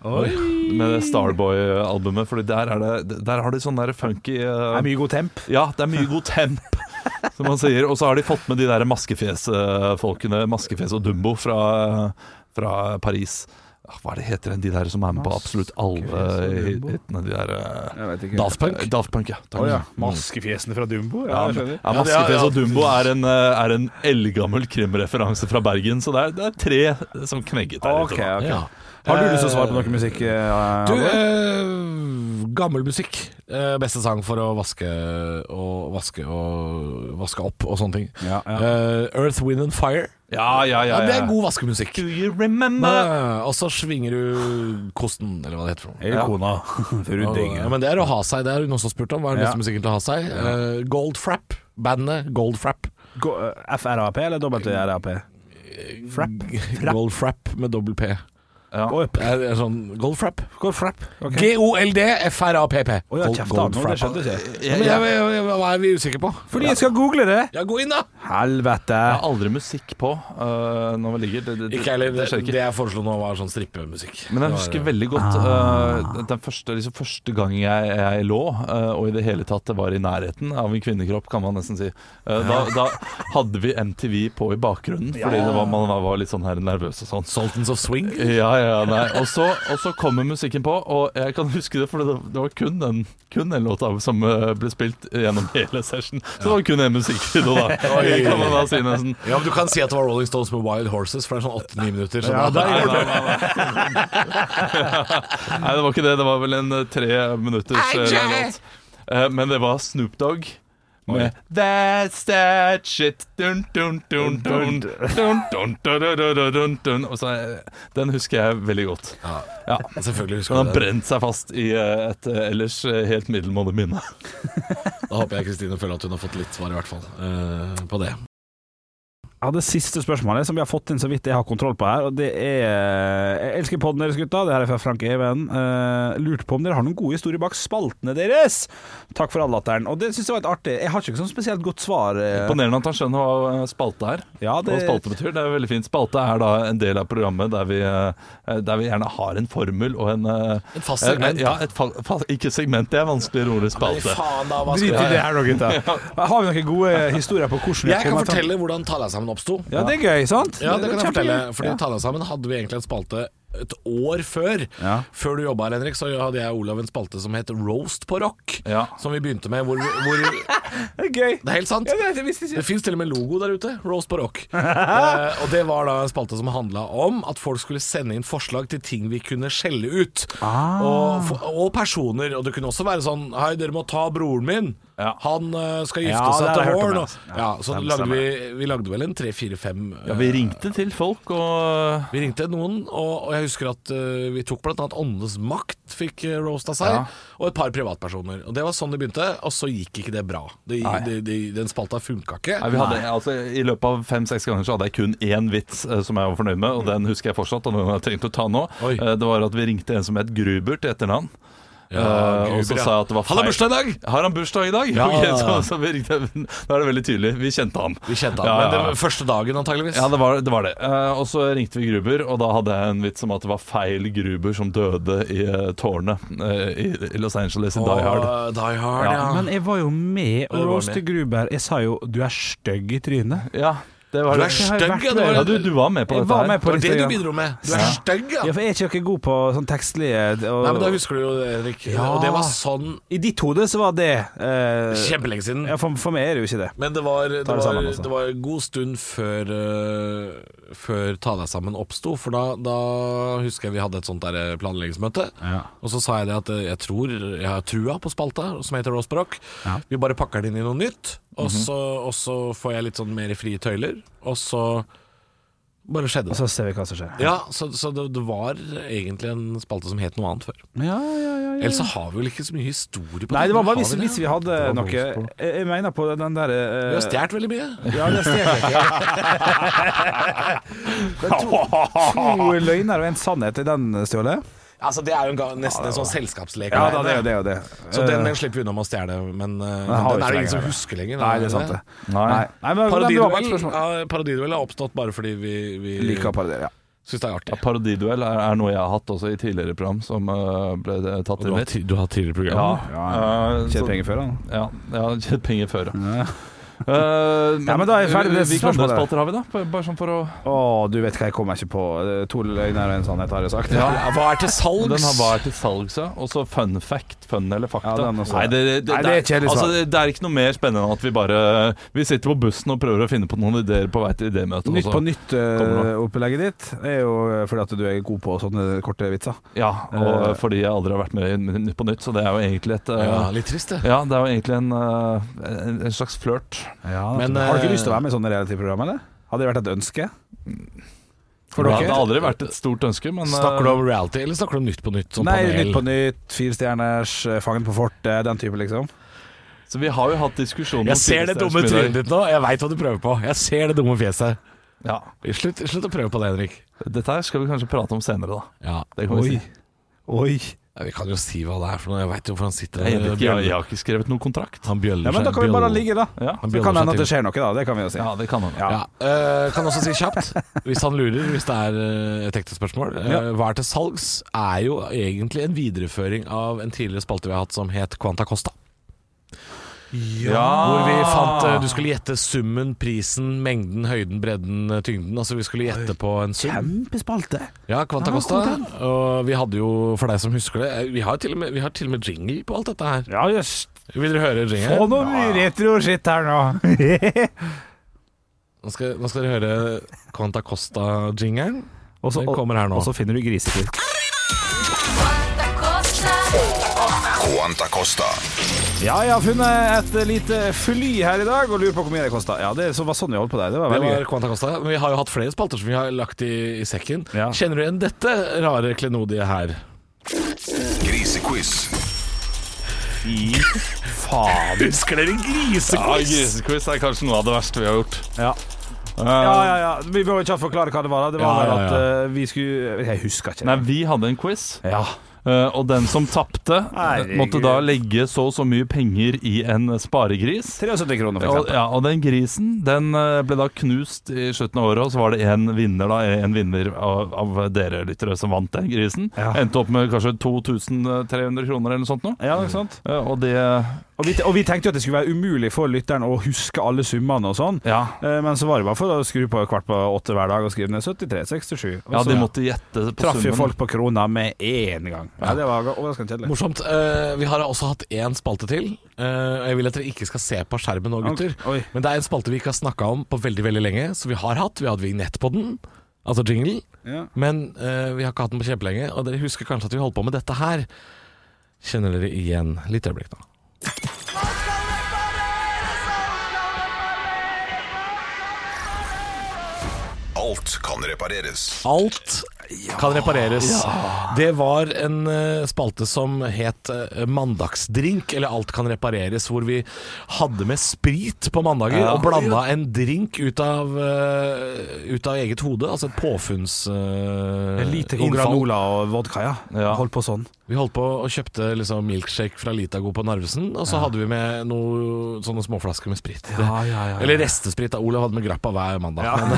[SPEAKER 3] Oi.
[SPEAKER 2] Med det Starboy-albumet, Fordi der, er det, der har de sånn der funky
[SPEAKER 3] Det er
[SPEAKER 2] eh,
[SPEAKER 3] mye god temp.
[SPEAKER 2] Ja, det er mye god temp, som man sier. Og så har de fått med de der maskefjes-folkene, Maskefjes og Dumbo fra, fra Paris. Ah, Hva er det heter de der som er med på absolutt alle
[SPEAKER 3] Maskefjes og Dumbo?
[SPEAKER 2] hitene? De der eh,
[SPEAKER 3] Jeg vet ikke.
[SPEAKER 1] Daft Punk?
[SPEAKER 2] Daft Punk, ja. Takk.
[SPEAKER 3] Å ja. Maskefjesene fra Dumbo? Ja, jeg skjønner.
[SPEAKER 2] Ja, Maskefjes og Dumbo er en, eh, er en eldgammel krimreferanse fra Bergen, så det er, det er tre som knegget der.
[SPEAKER 3] Ok, ok.
[SPEAKER 1] Ja.
[SPEAKER 3] Har du lyst til å svare på noe musikk? eh,
[SPEAKER 1] Du,
[SPEAKER 3] Halvor?
[SPEAKER 1] eh, gammel musikk. Eh, beste sang for å vaske og vaske og vaske opp og sånne ting.
[SPEAKER 3] ja, ja.
[SPEAKER 1] Eh, Earth, Wind and Fire.
[SPEAKER 2] Ja, ja,
[SPEAKER 1] Ja,
[SPEAKER 2] ja.
[SPEAKER 1] det
[SPEAKER 2] ja.
[SPEAKER 1] er god vaskemusikk.
[SPEAKER 2] Do you remember?
[SPEAKER 1] Eh, Og så svinger du kosten, eller hva det heter. for noe.
[SPEAKER 3] Eller kona. Fru
[SPEAKER 1] Ja,
[SPEAKER 3] Digge.
[SPEAKER 1] men det er å ha seg. Det er det noen som har spurt om. Hva er den
[SPEAKER 3] Ja.
[SPEAKER 1] beste musikken til å ha seg? Eh, Goldfrapp. Bandet Goldfrapp.
[SPEAKER 3] Gå- eh, FRAP eller WRAP? Frapp? Frapp.
[SPEAKER 1] Goldfrapp Mm. med dobbel P.
[SPEAKER 2] Ja.
[SPEAKER 3] Oi,
[SPEAKER 1] Det er, det er sånn Goldfrapp.
[SPEAKER 3] Gå frapp. Ok.
[SPEAKER 1] G-O-L-D-F-R-A-P-P.
[SPEAKER 3] Å ja, kjeft da, nå, det skjønte jeg ikke.
[SPEAKER 1] Men jeg, jeg, jeg, hva er vi usikre på?
[SPEAKER 3] Fordi jeg skal google det!
[SPEAKER 1] Ja, gå inn, da!
[SPEAKER 3] Helvete.
[SPEAKER 2] Jeg har aldri musikk på øh, når vi ligger. Det, det,
[SPEAKER 1] Ikke heller.
[SPEAKER 2] det
[SPEAKER 1] Det,
[SPEAKER 2] skjer ikke.
[SPEAKER 1] det jeg foreslo nå, var sånn strippemusikk. eh,
[SPEAKER 2] Men jeg husker veldig godt øh, den første, liksom, første gang jeg, jeg lå, øh, og i det hele tatt var i nærheten av en kvinnekropp, kan man nesten si. Øh, da, da hadde vi MTV på i bakgrunnen, fordi det var, man var litt sånn her nervøs og sånn.
[SPEAKER 1] Sultans of Swing.
[SPEAKER 2] Ja, ja, nei. Og så, og så kommer musikken på, og jeg kan huske det, for det, det var kun den, kun den låta som eh, ble spilt gjennom hele session. Så det var kun én musikkvideo, da. Det kan man da si nesten.
[SPEAKER 1] Ja, men Du kan si at det var Rolling Stones med Wild Horses, for det er sånn åtte-ni minutter. Så
[SPEAKER 3] Ja,
[SPEAKER 1] da-
[SPEAKER 3] der-
[SPEAKER 2] Nei, nei, nei, nei. Nei, det var ikke det. Det var vel en eh, tre minutters eh, lang låt. Eh, Men det var Snoop Dogg med That's that shit dun, dun, dun, dun, dun, dun, dun, dun, dun, dun, dun. Og så, eh, Den husker jeg veldig godt. Ja.
[SPEAKER 1] Selvfølgelig
[SPEAKER 2] Den har
[SPEAKER 1] husker du det.
[SPEAKER 2] brent seg fast i eh, et eh, ellers eh, helt middelmådig minne.
[SPEAKER 1] Da håper jeg Kristine føler at hun har fått litt svar, i hvert fall, eh, på det.
[SPEAKER 3] har det siste spørsmålet, som vi har fått inn så vidt jeg har kontroll på her. Og det er eh, Jeg elsker podden deres, gutta. Det her er fra Frank Even. Eh, lurte på om dere har noen gode historier bak spaltene deres. Takk for all latteren. Og det syns jeg var litt artig. Jeg har ikke sånn spesielt godt svar. eh.
[SPEAKER 2] Imponerende at han skjønner hva eh, spalte er.
[SPEAKER 3] Ja,
[SPEAKER 2] Hva
[SPEAKER 3] det-
[SPEAKER 2] spalte betyr. Det er veldig fint. Spalte er da en del av programmet der vi, eh, der vi gjerne har en formel og en eh,
[SPEAKER 1] Et fast segment,
[SPEAKER 2] Ja, et fa fa ikke segment. Det er vanskeligere ord i spalte.
[SPEAKER 1] faen da, hva
[SPEAKER 3] Drit i det her nå, gutta. Har vi noen gode historier på hvordan vi
[SPEAKER 1] Jeg kan
[SPEAKER 3] kommer til-
[SPEAKER 1] fortelle hvordan Tala sammen oppsto.
[SPEAKER 3] Ja, det er gøy, sant?
[SPEAKER 1] Ja, det kan jeg
[SPEAKER 3] Kjempegøy.
[SPEAKER 1] fortelle. Fordi
[SPEAKER 3] Ja.
[SPEAKER 1] Tala sammen hadde vi egentlig en spalte et år før.
[SPEAKER 3] Ja.
[SPEAKER 1] Før du jobba her, Henrik, så hadde jeg og Olav en spalte som het Roast på rock.
[SPEAKER 2] Ja.
[SPEAKER 1] Som vi begynte med hvor, hvor Det
[SPEAKER 3] Det er gøy.
[SPEAKER 1] er helt sant.
[SPEAKER 3] Ja, det, det visste jeg
[SPEAKER 1] Det
[SPEAKER 3] ikke.
[SPEAKER 1] fins til og med logo der ute. Roast på rock. Eh, og det var da en spalte som handla om at folk skulle sende inn forslag til ting vi kunne skjelle ut.
[SPEAKER 3] Ah.
[SPEAKER 1] Og, fo- og personer. Og det kunne også være sånn Hei, dere må ta broren min.
[SPEAKER 2] Ja.
[SPEAKER 1] Han eh, skal gifte
[SPEAKER 3] Ja, det
[SPEAKER 1] seg
[SPEAKER 3] har jeg
[SPEAKER 1] til
[SPEAKER 3] hørt om, altså.
[SPEAKER 1] våren.
[SPEAKER 3] ja.
[SPEAKER 1] og- Ja, så
[SPEAKER 3] det
[SPEAKER 1] lagde
[SPEAKER 3] stemmer.
[SPEAKER 1] vi, vi lagde vel en tre-fire-fem
[SPEAKER 2] Ja, vi ringte til folk og
[SPEAKER 1] Vi ringte noen, og, og jeg husker at eh, vi tok blant annet Åndenes makt fikk uh, roasta seg,
[SPEAKER 2] Ja.
[SPEAKER 1] og et par privatpersoner. Og Det var sånn det begynte, og så gikk ikke det bra. Det,
[SPEAKER 2] Nei.
[SPEAKER 1] det, det, den spalta funka ikke.
[SPEAKER 2] Nei, vi hadde, altså, I løpet av fem-seks ganger så hadde jeg kun én vits eh, som jeg var fornøyd med, og den husker jeg fortsatt. Og den har jeg tenkt å ta nå.
[SPEAKER 1] Oi.
[SPEAKER 2] Eh, Det var at vi ringte en som het Gruber til etternavn.
[SPEAKER 1] Ja,
[SPEAKER 2] Eh, og så
[SPEAKER 1] Gruber, ja.
[SPEAKER 2] sa jeg at det var
[SPEAKER 1] Han har
[SPEAKER 2] feil.
[SPEAKER 1] bursdag i dag!
[SPEAKER 2] Har han bursdag i dag?
[SPEAKER 1] Ja.
[SPEAKER 2] Ok, så, så vi ringte, da er det veldig tydelig. Vi kjente han.
[SPEAKER 1] Vi kjente han,
[SPEAKER 2] Ja, ja,
[SPEAKER 1] men det
[SPEAKER 2] ja.
[SPEAKER 1] var første dagen antageligvis.
[SPEAKER 2] Ja, det var det. Var det. Eh, og så ringte vi Gruber, og da hadde jeg en vits om at det var feil Gruber som døde i eh, tårnet eh, i, i Los Angeles i Die Hard.
[SPEAKER 1] Og, Die Hard, ja.
[SPEAKER 2] Ja,
[SPEAKER 3] Men jeg var jo med
[SPEAKER 2] var
[SPEAKER 3] og roaste
[SPEAKER 2] med.
[SPEAKER 3] Gruber. Jeg sa jo 'du er stygg i trynet'.
[SPEAKER 2] Ja, det var
[SPEAKER 1] Du er
[SPEAKER 2] det.
[SPEAKER 1] stygg,
[SPEAKER 2] Jeg har vært
[SPEAKER 1] ja, det
[SPEAKER 2] med.
[SPEAKER 1] var-
[SPEAKER 2] ja, du, du var med på
[SPEAKER 3] Jeg
[SPEAKER 2] dette
[SPEAKER 3] var
[SPEAKER 2] her.
[SPEAKER 3] med på
[SPEAKER 1] det var det
[SPEAKER 3] Instagram.
[SPEAKER 1] du bidro med. Du er
[SPEAKER 2] Ja.
[SPEAKER 1] stygg, ja.
[SPEAKER 3] Ja, for jeg er ikke noe god på sånn tekstlige og,
[SPEAKER 1] Nei, men Da husker du jo det, Henrik.
[SPEAKER 3] Ja.
[SPEAKER 1] Og det var sånn
[SPEAKER 3] I ditt hode så var det eh,
[SPEAKER 1] kjempelenge siden.
[SPEAKER 3] ja, for, for meg er det jo ikke det.
[SPEAKER 1] Men det var, det,
[SPEAKER 3] Ta deg
[SPEAKER 1] var,
[SPEAKER 3] sammen, altså.
[SPEAKER 1] det var en god stund før, eh, før Ta deg sammen oppsto, for da, da husker jeg vi hadde et sånt der eh, planleggingsmøte.
[SPEAKER 3] Ja.
[SPEAKER 1] Og så sa jeg det at eh, jeg tror jeg har trua på spalta, som heter Ross Barock.
[SPEAKER 3] Ja. Mhm.
[SPEAKER 1] Vi bare pakker den inn i noe nytt, og, så, og så får jeg litt sånn mer frie tøyler, og så bare skjedde
[SPEAKER 3] Og
[SPEAKER 1] det.
[SPEAKER 3] så ser vi hva som skjer.
[SPEAKER 1] Ja, så, så det, det var egentlig en spalte som het noe annet før.
[SPEAKER 3] Ja, ja, ja, ja.
[SPEAKER 1] Ellers så har vi vel ikke så mye historie på
[SPEAKER 3] Nei, det var bare hvis,
[SPEAKER 1] Har vi det?
[SPEAKER 3] hvis vi hadde
[SPEAKER 2] Det var
[SPEAKER 3] noe Jeg,
[SPEAKER 2] bonusbord.
[SPEAKER 3] jeg mener på den eh, derre
[SPEAKER 1] Vi har stjålet veldig mye.
[SPEAKER 3] Ja, det stjal jeg. Det er to, to løgner og en sannhet i den stjålet.
[SPEAKER 1] Altså, det er jo en ga- nesten en sånn selskapslek.
[SPEAKER 3] Ja, da, det er jo det. og det.
[SPEAKER 1] Så den,
[SPEAKER 3] Eh,
[SPEAKER 1] den slipper vi unna med å stjele, men eh,
[SPEAKER 3] har
[SPEAKER 1] den
[SPEAKER 3] vi
[SPEAKER 1] er det
[SPEAKER 3] ikke
[SPEAKER 1] ingen som
[SPEAKER 3] lenger.
[SPEAKER 1] husker lenger.
[SPEAKER 3] Nei, det er sant, det.
[SPEAKER 2] Nei.
[SPEAKER 3] Nei, nei men men det var bare et
[SPEAKER 1] Parodiduell,
[SPEAKER 3] spørsmål.
[SPEAKER 1] ja, parodiduell er eh, oppstått bare fordi vi, vi
[SPEAKER 3] Liker parodier, ja.
[SPEAKER 1] syns det er artig.
[SPEAKER 2] Ja, parodiduell er, er noe jeg har hatt også i tidligere program som eh, ble eh, tatt inn litt.
[SPEAKER 1] du har tidligere
[SPEAKER 2] Ja,
[SPEAKER 3] Ja,
[SPEAKER 2] eh, så-
[SPEAKER 3] Tjent penger før, da.
[SPEAKER 2] Ja, jeg har tjent penger før, ja.
[SPEAKER 3] Ja.
[SPEAKER 2] Eh, men,
[SPEAKER 3] Ja, men da er vi ferdig med det
[SPEAKER 2] Hvilke andre
[SPEAKER 3] spørsmålet.
[SPEAKER 2] spalter har vi, da? Bare- Bare sånn for å
[SPEAKER 3] Å, du vet hva jeg kommer ikke på. Eh, To løgner og en sannhet, har jeg sagt.
[SPEAKER 1] Hva er til salgs?
[SPEAKER 2] Den har vært til salgs, ja. Og så fun fact. Fun eller fakta.
[SPEAKER 3] Ja, den også.
[SPEAKER 2] Nei, det, det, det,
[SPEAKER 3] Nei, det er kjedelig
[SPEAKER 2] altså,
[SPEAKER 3] svar.
[SPEAKER 2] det, det er ikke noe mer spennende enn at vi bare Vi sitter på bussen og prøver å finne på noen ideer på vei til idémøtet.
[SPEAKER 3] Nytt
[SPEAKER 2] også.
[SPEAKER 3] på nytt-opplegget
[SPEAKER 2] Kommer
[SPEAKER 3] ditt er jo eh, fordi at du er god på sånne korte vitser.
[SPEAKER 2] Ja, og
[SPEAKER 3] Eh.
[SPEAKER 2] fordi jeg aldri har vært med i Nytt på nytt, så det er jo egentlig et eh,
[SPEAKER 1] ja,
[SPEAKER 2] ja.
[SPEAKER 1] litt trist, det.
[SPEAKER 2] det er jo egentlig en, eh, en, en slags flørt.
[SPEAKER 3] Men,
[SPEAKER 1] Men,
[SPEAKER 3] har du ikke
[SPEAKER 1] eh,
[SPEAKER 3] lyst til å være med i sånne reality-program, eller? Hadde det vært et ønske? For
[SPEAKER 2] Det
[SPEAKER 3] dere?
[SPEAKER 2] hadde aldri vært et stort ønske, men eh,
[SPEAKER 1] Snakker du om reality, eller snakker du om Nytt på Nytt? Som
[SPEAKER 3] Nei,
[SPEAKER 1] panel?
[SPEAKER 3] Nytt på nytt, Fire stjerners, eh, Fangen på fortet, den type, liksom.
[SPEAKER 2] eh, Så vi har jo hatt diskusjon om
[SPEAKER 1] Jeg ser det dumme
[SPEAKER 2] Fyrstjerners middag.
[SPEAKER 1] trynet ditt nå. Jeg veit hva du prøver på. Jeg ser det dumme fjeset.
[SPEAKER 2] Ja.
[SPEAKER 1] Slutt, slutt å prøve på det, Henrik.
[SPEAKER 2] Dette her skal vi kanskje prate om senere, da.
[SPEAKER 1] Ja.
[SPEAKER 2] Det kan vi si.
[SPEAKER 3] Oi.
[SPEAKER 1] Ja, Vi kan jo si hva det er, for noe. jeg veit jo hvorfor han sitter
[SPEAKER 2] Jeg,
[SPEAKER 1] der.
[SPEAKER 2] vet ikke, jeg, jeg har ikke skrevet noen kontrakt.
[SPEAKER 1] Han bjøller
[SPEAKER 3] Ja, men da kan vi bare la ligge, da.
[SPEAKER 2] Ja,
[SPEAKER 1] Han
[SPEAKER 3] Det
[SPEAKER 1] bjøller
[SPEAKER 3] kan
[SPEAKER 1] seg
[SPEAKER 3] hende at
[SPEAKER 1] til.
[SPEAKER 3] det skjer noe, da. Det kan vi jo si.
[SPEAKER 2] ja det kan hende.
[SPEAKER 3] Ja.
[SPEAKER 1] Ja, øh, Kan også si kjapt, hvis han lurer, hvis det er øh, et ekte spørsmål øh,
[SPEAKER 3] Ja.
[SPEAKER 1] Hva er til salgs er jo egentlig en videreføring av en tidligere spalte vi har hatt som het Quanta Costa. Hvor vi fant øh, Du skulle gjette summen, prisen, mengden, høyden, bredden, øh, tyngden. Altså vi skulle gjette på en sum.
[SPEAKER 3] Kjempespalte.
[SPEAKER 1] Ja, Quanta
[SPEAKER 3] Ja,
[SPEAKER 1] Costa.
[SPEAKER 3] kom
[SPEAKER 1] Og vi hadde jo, for deg som husker det øh, Vi har til og med, vi har til og med jingle på alt dette her.
[SPEAKER 3] Ja, jøss.
[SPEAKER 1] Vil dere høre
[SPEAKER 3] Få
[SPEAKER 1] jingle?
[SPEAKER 3] noe mye retro-skitt her nå.
[SPEAKER 1] Nå skal, nå skal dere høre Quanta Costa-jingelen.
[SPEAKER 3] Og så-
[SPEAKER 1] Den kommer her nå.
[SPEAKER 3] Og så finner du grisekur.
[SPEAKER 4] Quanta Costa,
[SPEAKER 5] Quanta Costa.
[SPEAKER 3] Ja, jeg har funnet et lite fly her i dag og lurer på hvor mye det kosta. Ja, det så var sånn jeg holdt på deg. Det var
[SPEAKER 1] Det
[SPEAKER 3] veldig
[SPEAKER 1] var
[SPEAKER 3] gøy.
[SPEAKER 1] Quanta Costa. Men vi har jo hatt flere spalter som vi har lagt i, i sekken.
[SPEAKER 3] Ja.
[SPEAKER 1] Kjenner du igjen dette rare klenodiet her?
[SPEAKER 5] Grisequiz.
[SPEAKER 3] Faen.
[SPEAKER 1] Husker dere
[SPEAKER 2] Ja, Grisequiz er kanskje noe av det verste vi har gjort.
[SPEAKER 3] Ja. Ja, ja, ja. Vi bør ikke forklare hva det var. da. Det var
[SPEAKER 1] Ja,
[SPEAKER 3] vel
[SPEAKER 1] ja,
[SPEAKER 3] at
[SPEAKER 1] ja.
[SPEAKER 3] eh, vi skulle Jeg husker ikke.
[SPEAKER 2] Nei,
[SPEAKER 3] det.
[SPEAKER 2] vi hadde en quiz,
[SPEAKER 3] Ja.
[SPEAKER 2] eh, og den som tapte,
[SPEAKER 3] Herregud.
[SPEAKER 2] måtte da legge så og så mye penger i en sparegris.
[SPEAKER 3] 73 kroner, for
[SPEAKER 2] Og,
[SPEAKER 3] eksempel.
[SPEAKER 2] ja, og den grisen den eh, ble da knust i slutten av året, og så var det en vinner da En vinner av, av dere lyttere som vant den grisen.
[SPEAKER 3] Ja.
[SPEAKER 2] Endte opp med kanskje 2300 kroner eller noe sånt. Nå.
[SPEAKER 3] Ja, ikke sant?
[SPEAKER 2] Eh, Og det
[SPEAKER 3] Og vi, og vi tenkte jo at det skulle være umulig for lytteren å huske alle summene og sånn.
[SPEAKER 2] Ja,
[SPEAKER 3] Eh, Men så var det bare for å skru på kvart på åtte hver dag og skrive ned 73,67. Og
[SPEAKER 2] ja
[SPEAKER 3] så
[SPEAKER 2] de måtte gjette på
[SPEAKER 3] traff jo
[SPEAKER 2] summen.
[SPEAKER 3] folk på krona med én gang. Ja, Det var overraskende kjedelig.
[SPEAKER 1] Morsomt. Eh, vi har også hatt én spalte til. Eh, og jeg vil at dere ikke skal se på skjermen nå, gutter.
[SPEAKER 3] Ok, oi.
[SPEAKER 1] Men det er en spalte vi ikke har snakka om på veldig veldig lenge, så vi har hatt. Vi har hatt vignett på den, altså jingle,
[SPEAKER 3] Ja.
[SPEAKER 1] men eh, vi har ikke hatt den på kjempelenge. Og dere husker kanskje at vi holdt på med dette her. Kjenner dere igjen? Litt øyeblikk nå.
[SPEAKER 5] Alt kan repareres.
[SPEAKER 1] Alt kan repareres. Det var en eh, spalte som het eh, Mandagsdrink, eller Alt kan repareres, hvor vi hadde med sprit på mandager og blanda en drink ut av, eh, ut av eget hode. Altså et påfunnsinnfall.
[SPEAKER 3] Lite granola og vodka, ja.
[SPEAKER 2] Eh, Ja.
[SPEAKER 3] Holdt på sånn.
[SPEAKER 1] Vi holdt på og kjøpte liksom milkshake fra Litago på Narvesen, og så hadde vi med noe, sånne småflasker med sprit.
[SPEAKER 3] Ja, ja, ja, ja.
[SPEAKER 1] Eller restesprit. da. Olav hadde med grappa hver mandag. Men,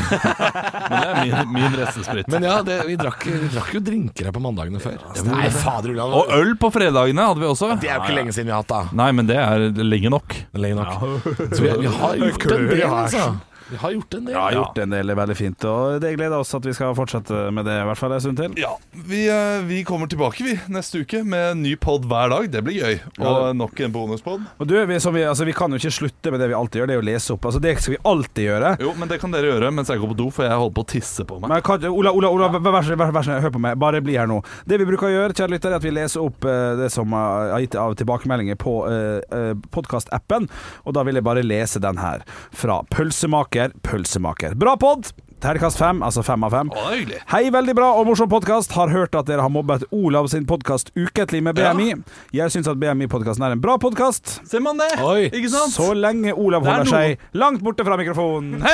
[SPEAKER 2] Men det er min, min restesprit.
[SPEAKER 1] men ja, det, vi, drakk, vi drakk jo drinker her på mandagene før. Nei, fader Olav.
[SPEAKER 2] og øl på fredagene hadde vi også.
[SPEAKER 1] Det er jo ikke lenge siden vi har hatt da.
[SPEAKER 2] Nei, men det er lenge nok.
[SPEAKER 1] Lenge nok. Så vi, vi har gjort en del, altså.
[SPEAKER 3] sånn.
[SPEAKER 1] Vi har gjort en del.
[SPEAKER 3] Jeg har gjort en del veldig fint, og det gleder oss at vi skal fortsette med det i hvert fall en stund til.
[SPEAKER 2] Ja, vi, eh, vi kommer tilbake vi neste uke med en ny pod hver dag. Det blir gøy. Og nok en bonuspod.
[SPEAKER 3] Og du, vi, som vi, altså, vi kan jo ikke slutte med det vi alltid gjør, det er å lese opp. Altså, det skal vi alltid gjøre.
[SPEAKER 2] Jo, men det kan dere gjøre mens jeg går på do, for jeg holder på å tisse på meg.
[SPEAKER 3] Men kan, Ola, Ola, Ola, vær vær så vær- vær så snill, hør på meg. Bare bli her nå. Det vi bruker å gjøre, kjære lytter, er at vi leser opp eh, det som eh, er gitt av tilbakemeldinger på uh, podkastappen, og da vil jeg bare lese den her. Fra Pølsemaker Pølsemaker. Bra pod! Terningkast fem, altså fem av fem.
[SPEAKER 2] Å, det er hyggelig.
[SPEAKER 3] Hei, veldig bra og morsom podkast. Har hørt at dere har mobbet Olav sin podkast ukentlig med BMI. Jeg syns at BMI-podkasten er en bra podkast,
[SPEAKER 2] Ser man det?
[SPEAKER 1] Oi.
[SPEAKER 2] Ikke sant?
[SPEAKER 3] så lenge Olav
[SPEAKER 2] Det er
[SPEAKER 3] holder
[SPEAKER 2] noe-
[SPEAKER 3] seg langt borte fra mikrofonen.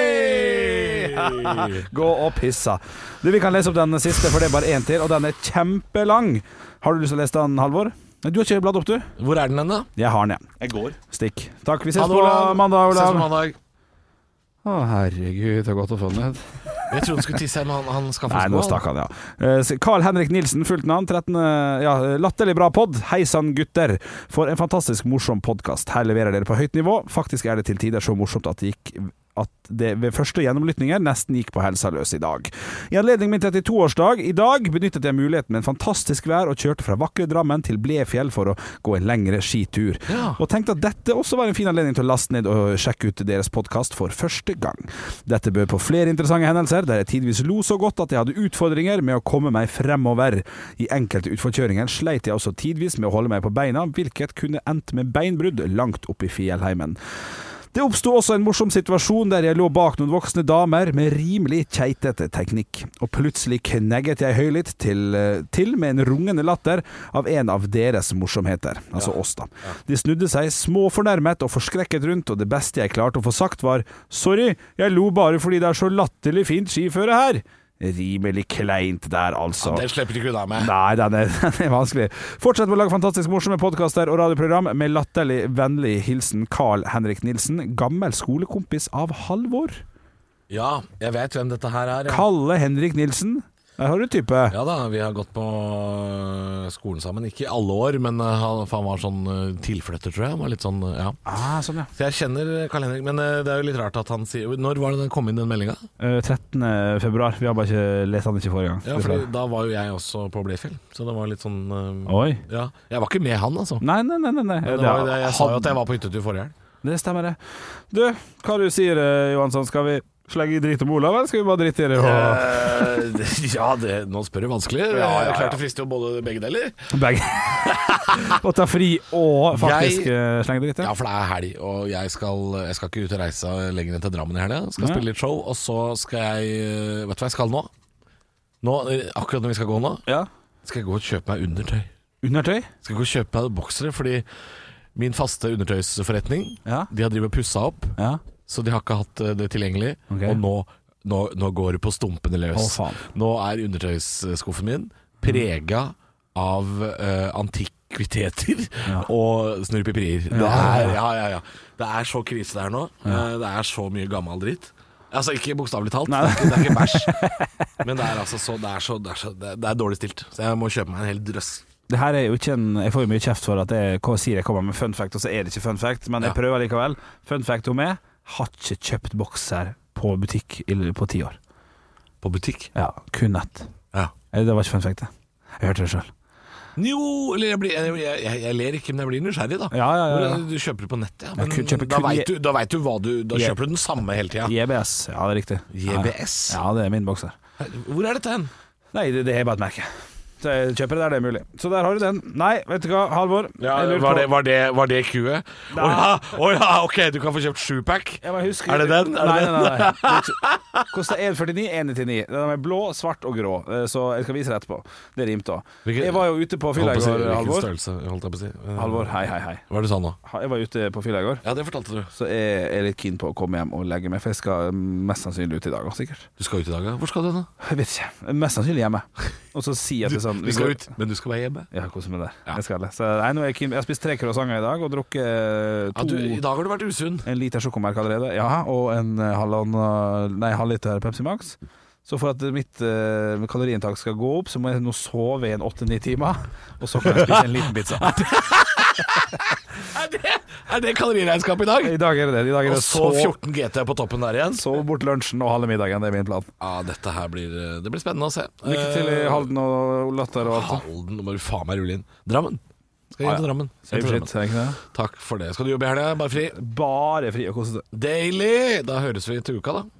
[SPEAKER 2] Hei!
[SPEAKER 3] Gå og pissa. Du, Vi kan lese opp den siste, for det er bare én til, og den er kjempelang. Har du lyst til å lese den, Halvor? Nei, Du har ikke bladd opp, du?
[SPEAKER 1] Hvor er den hen, da?
[SPEAKER 3] Jeg har den, jeg.
[SPEAKER 2] Jeg går.
[SPEAKER 3] Stikk. Takk. Vi ses
[SPEAKER 1] Ha det,
[SPEAKER 3] på mandag,
[SPEAKER 1] Ses på
[SPEAKER 3] Olav.
[SPEAKER 1] mandag.
[SPEAKER 3] Å, herregud, det er godt å få den ned.
[SPEAKER 1] Jeg trodde han skulle tisse, men han, han skaffa
[SPEAKER 3] Nei, nå stakk han, ja. Eh, så Carl Henrik Nilsen, fullt navn. 13, eh, ja, latterlig bra pod. Hei sann, gutter. For en fantastisk morsom podkast. Her leverer dere på høyt nivå. Faktisk er det til tider så morsomt at det gikk at det ved første gjennomlytninger nesten gikk på helsa løs i dag. I anledning min 32-årsdag i dag benyttet jeg muligheten med en fantastisk vær og kjørte fra vakre Drammen til Blefjell for å gå en lengre skitur. Og tenkte at dette også var en fin anledning til å laste ned og sjekke ut deres podkast for første gang. Dette bød på flere interessante hendelser, der jeg tidvis lo så godt at jeg hadde utfordringer med å komme meg fremover. I enkelte utforkjøringer sleit jeg også tidvis med å holde meg på beina, hvilket kunne endt med beinbrudd langt oppe i fjellheimen. Det oppsto også en morsom situasjon der jeg lå bak noen voksne damer med rimelig keitete teknikk, og plutselig knegget jeg høylytt til, eh, til med en rungende latter av en av deres morsomheter, altså oss, da. De snudde seg småfornærmet og forskrekket rundt, og det beste jeg klarte å få sagt var sorry, jeg lo bare fordi det er så latterlig fint skiføre her. Rimelig kleint der, altså.
[SPEAKER 1] Den slipper du ikke unna med.
[SPEAKER 3] Nei, den er, den er vanskelig. Fortsett med å lage fantastisk morsomme podkaster og radioprogram med latterlig vennlig hilsen Carl Henrik Nilsen, gammel skolekompis av Halvor.
[SPEAKER 1] Ja, jeg vet hvem dette her er. Ja,
[SPEAKER 3] Kalle Henrik Nilsen. Der har du type.
[SPEAKER 1] ja da, vi har gått på øh, skolen sammen. Ikke i alle år, men øh, han, for han var sånn øh, tilflytter, tror jeg. Han var litt sånn, øh, ja.
[SPEAKER 3] Ah, sånn, ja.
[SPEAKER 1] Så jeg kjenner Karl Henrik, men eh, det er jo litt rart at han sier Når var det den kom inn, den meldinga?
[SPEAKER 3] Eh, 13. februar. Vi har bare ikke lest han ikke forrige gang.
[SPEAKER 1] Ja, fordi da var jo jeg også på Blefjell, så det var litt sånn eh,
[SPEAKER 3] Oi.
[SPEAKER 1] Ja. Jeg var ikke med han, altså.
[SPEAKER 3] Nei, nei, nei. nei, nei.
[SPEAKER 1] Det var jo det jeg sa jo at jeg var på hyttetur forrige helg.
[SPEAKER 3] Det stemmer, det. Du, hva du sier eh, Johansson? Skal vi slenge i drit om Olav, eller skal vi bare drite i det? Og...
[SPEAKER 1] Eh, ja, det, nå spør du vanskelig. Ja, ja, ja. Klart det frister jo både begge deler.
[SPEAKER 3] Begge. og ta fri og faktisk
[SPEAKER 1] Jeg-
[SPEAKER 3] eh, slenge dritt?
[SPEAKER 1] Ja, for det er helg, og jeg skal, jeg skal ikke ut og reise lenger enn til Drammen i helga. Skal
[SPEAKER 3] Nei.
[SPEAKER 1] spille litt show, og så skal jeg eh, Vet du hva jeg skal nå? nå eh, akkurat når vi skal gå nå,
[SPEAKER 3] ja.
[SPEAKER 1] skal jeg gå og kjøpe meg undertøy.
[SPEAKER 3] Undertøy?
[SPEAKER 1] Skal gå og kjøpe meg boksere, fordi min faste undertøysforretning
[SPEAKER 3] Ja.
[SPEAKER 1] De har drivet og pussa opp
[SPEAKER 3] Ja.
[SPEAKER 1] så de har ikke hatt eh, det tilgjengelig.
[SPEAKER 3] Ok.
[SPEAKER 1] Og nå, nå, nå går det på stumpene løs.
[SPEAKER 3] Å, faen.
[SPEAKER 1] nå er undertøysskuffen min prega av eh, antikviteter og snurrepiperier. Det, er- ja, ja, ja. det er så krise der nå. Eh, det er så mye gammel dritt. Altså Ikke bokstavelig talt, det er ikke- det er ikke bæsj. Men det er altså så Det er, så, det er, så, det er, det er dårlig stilt. Så jeg må kjøpe meg en hel drøss.
[SPEAKER 3] Det her er jo ikke en Jeg får jo mye kjeft for at jeg hva sier jeg kommer med fun fact, og så er det ikke fun fact, men jeg
[SPEAKER 1] Ja.
[SPEAKER 3] prøver likevel. Fun fact om meg har ikke kjøpt bokser på butikk i- på ti år.
[SPEAKER 1] På butikk.
[SPEAKER 3] Ja, kun nett.
[SPEAKER 1] Ja.
[SPEAKER 3] Eh, Det var ikke fun fact, det. Jeg hørte det sjøl.
[SPEAKER 1] Jo, eller jeg, blir, jeg, jeg, jeg, jeg ler ikke, men jeg blir nysgjerrig, da.
[SPEAKER 3] Ja, ja, ja, ja.
[SPEAKER 1] Du, du kjøper det på nettet, ja. Men
[SPEAKER 3] kun- kjøper
[SPEAKER 1] da
[SPEAKER 3] kun-
[SPEAKER 1] veit du, da vet du hva du Da
[SPEAKER 3] Jeg-
[SPEAKER 1] kjøper du den samme hele tida.
[SPEAKER 3] JBS, ja det er riktig.
[SPEAKER 1] JBS?
[SPEAKER 3] Ja, ja, det er min bokser.
[SPEAKER 1] Hvor er dette hen?
[SPEAKER 3] Nei, det, det er bare et merke. Så jeg kjøper det der det er mulig. Så der har du den. Nei, vet du hva, Halvor. jeg lurer
[SPEAKER 1] var, det,
[SPEAKER 3] på-
[SPEAKER 1] var, det, var det Q-et? Å ja, å ja, ok, du kan få kjøpt sjupack.
[SPEAKER 3] Jeg bare husker-
[SPEAKER 1] Er det den? Er det
[SPEAKER 3] nei,
[SPEAKER 1] den?
[SPEAKER 3] nei, nei, nei. Kosta 1,49, 1,99. Den er blå, svart og grå, eh, så jeg skal vise det etterpå. Det rimte òg.
[SPEAKER 1] Hvilken-
[SPEAKER 3] Jeg var jo ute på fylla i går, Halvor.
[SPEAKER 1] størrelse? Holdt jeg på å si. Eh,
[SPEAKER 3] Halvor, hei, hei, hei.
[SPEAKER 1] Hva er det du sa nå?
[SPEAKER 3] Ha- Jeg var ute på fylla i går,
[SPEAKER 1] Ja, det fortalte du.
[SPEAKER 3] så jeg er litt keen på å komme hjem og legge meg, for jeg skal mest sannsynlig ut i dag òg, sikkert.
[SPEAKER 1] Du skal ut i dag, ja. Hvor skal du nå?
[SPEAKER 3] Jeg vet ikke. Mest sannsynlig hjemme. Og så sier jeg til sånn
[SPEAKER 1] Du skal ut, men du skal være hjemme.
[SPEAKER 3] Ja, kos meg der.
[SPEAKER 1] Ja.
[SPEAKER 3] Jeg skal det. Så nei, nå er jeg keen. Jeg har spist tre croissanter i dag og drukket eh,
[SPEAKER 1] Ja,
[SPEAKER 3] to
[SPEAKER 1] du, I dag har du vært usunn.
[SPEAKER 3] en liter sjokomelk allerede, ja, og en eh, halvannen Nei, halvliter Pepsi Max. Så for at mitt eh, kaloriinntak skal gå opp, så må jeg nå sove i en åtte-ni timer. Og så kan jeg spise en liten pizza.
[SPEAKER 1] Er det, er det kaloriregnskapet i dag?
[SPEAKER 3] I dag er det det. I dag er
[SPEAKER 1] Og
[SPEAKER 3] det
[SPEAKER 1] så
[SPEAKER 3] så
[SPEAKER 1] 14 GT på toppen der igjen.
[SPEAKER 3] Sov bort lunsjen og halve middagen, det er min plan.
[SPEAKER 1] Ja, dette her blir eh, Det blir spennende å se.
[SPEAKER 3] Lykke til i
[SPEAKER 1] Eh,
[SPEAKER 3] Halden og Latter og alt.
[SPEAKER 1] Halden, nå må du faen meg rulle inn. Drammen. Skal hjem til Drammen. Skal hjem til Drammen. Takk for det. Skal du jobbe i helga? Bare fri.
[SPEAKER 3] Bare fri og kose seg.
[SPEAKER 1] Deilig! Da høres vi til uka, da.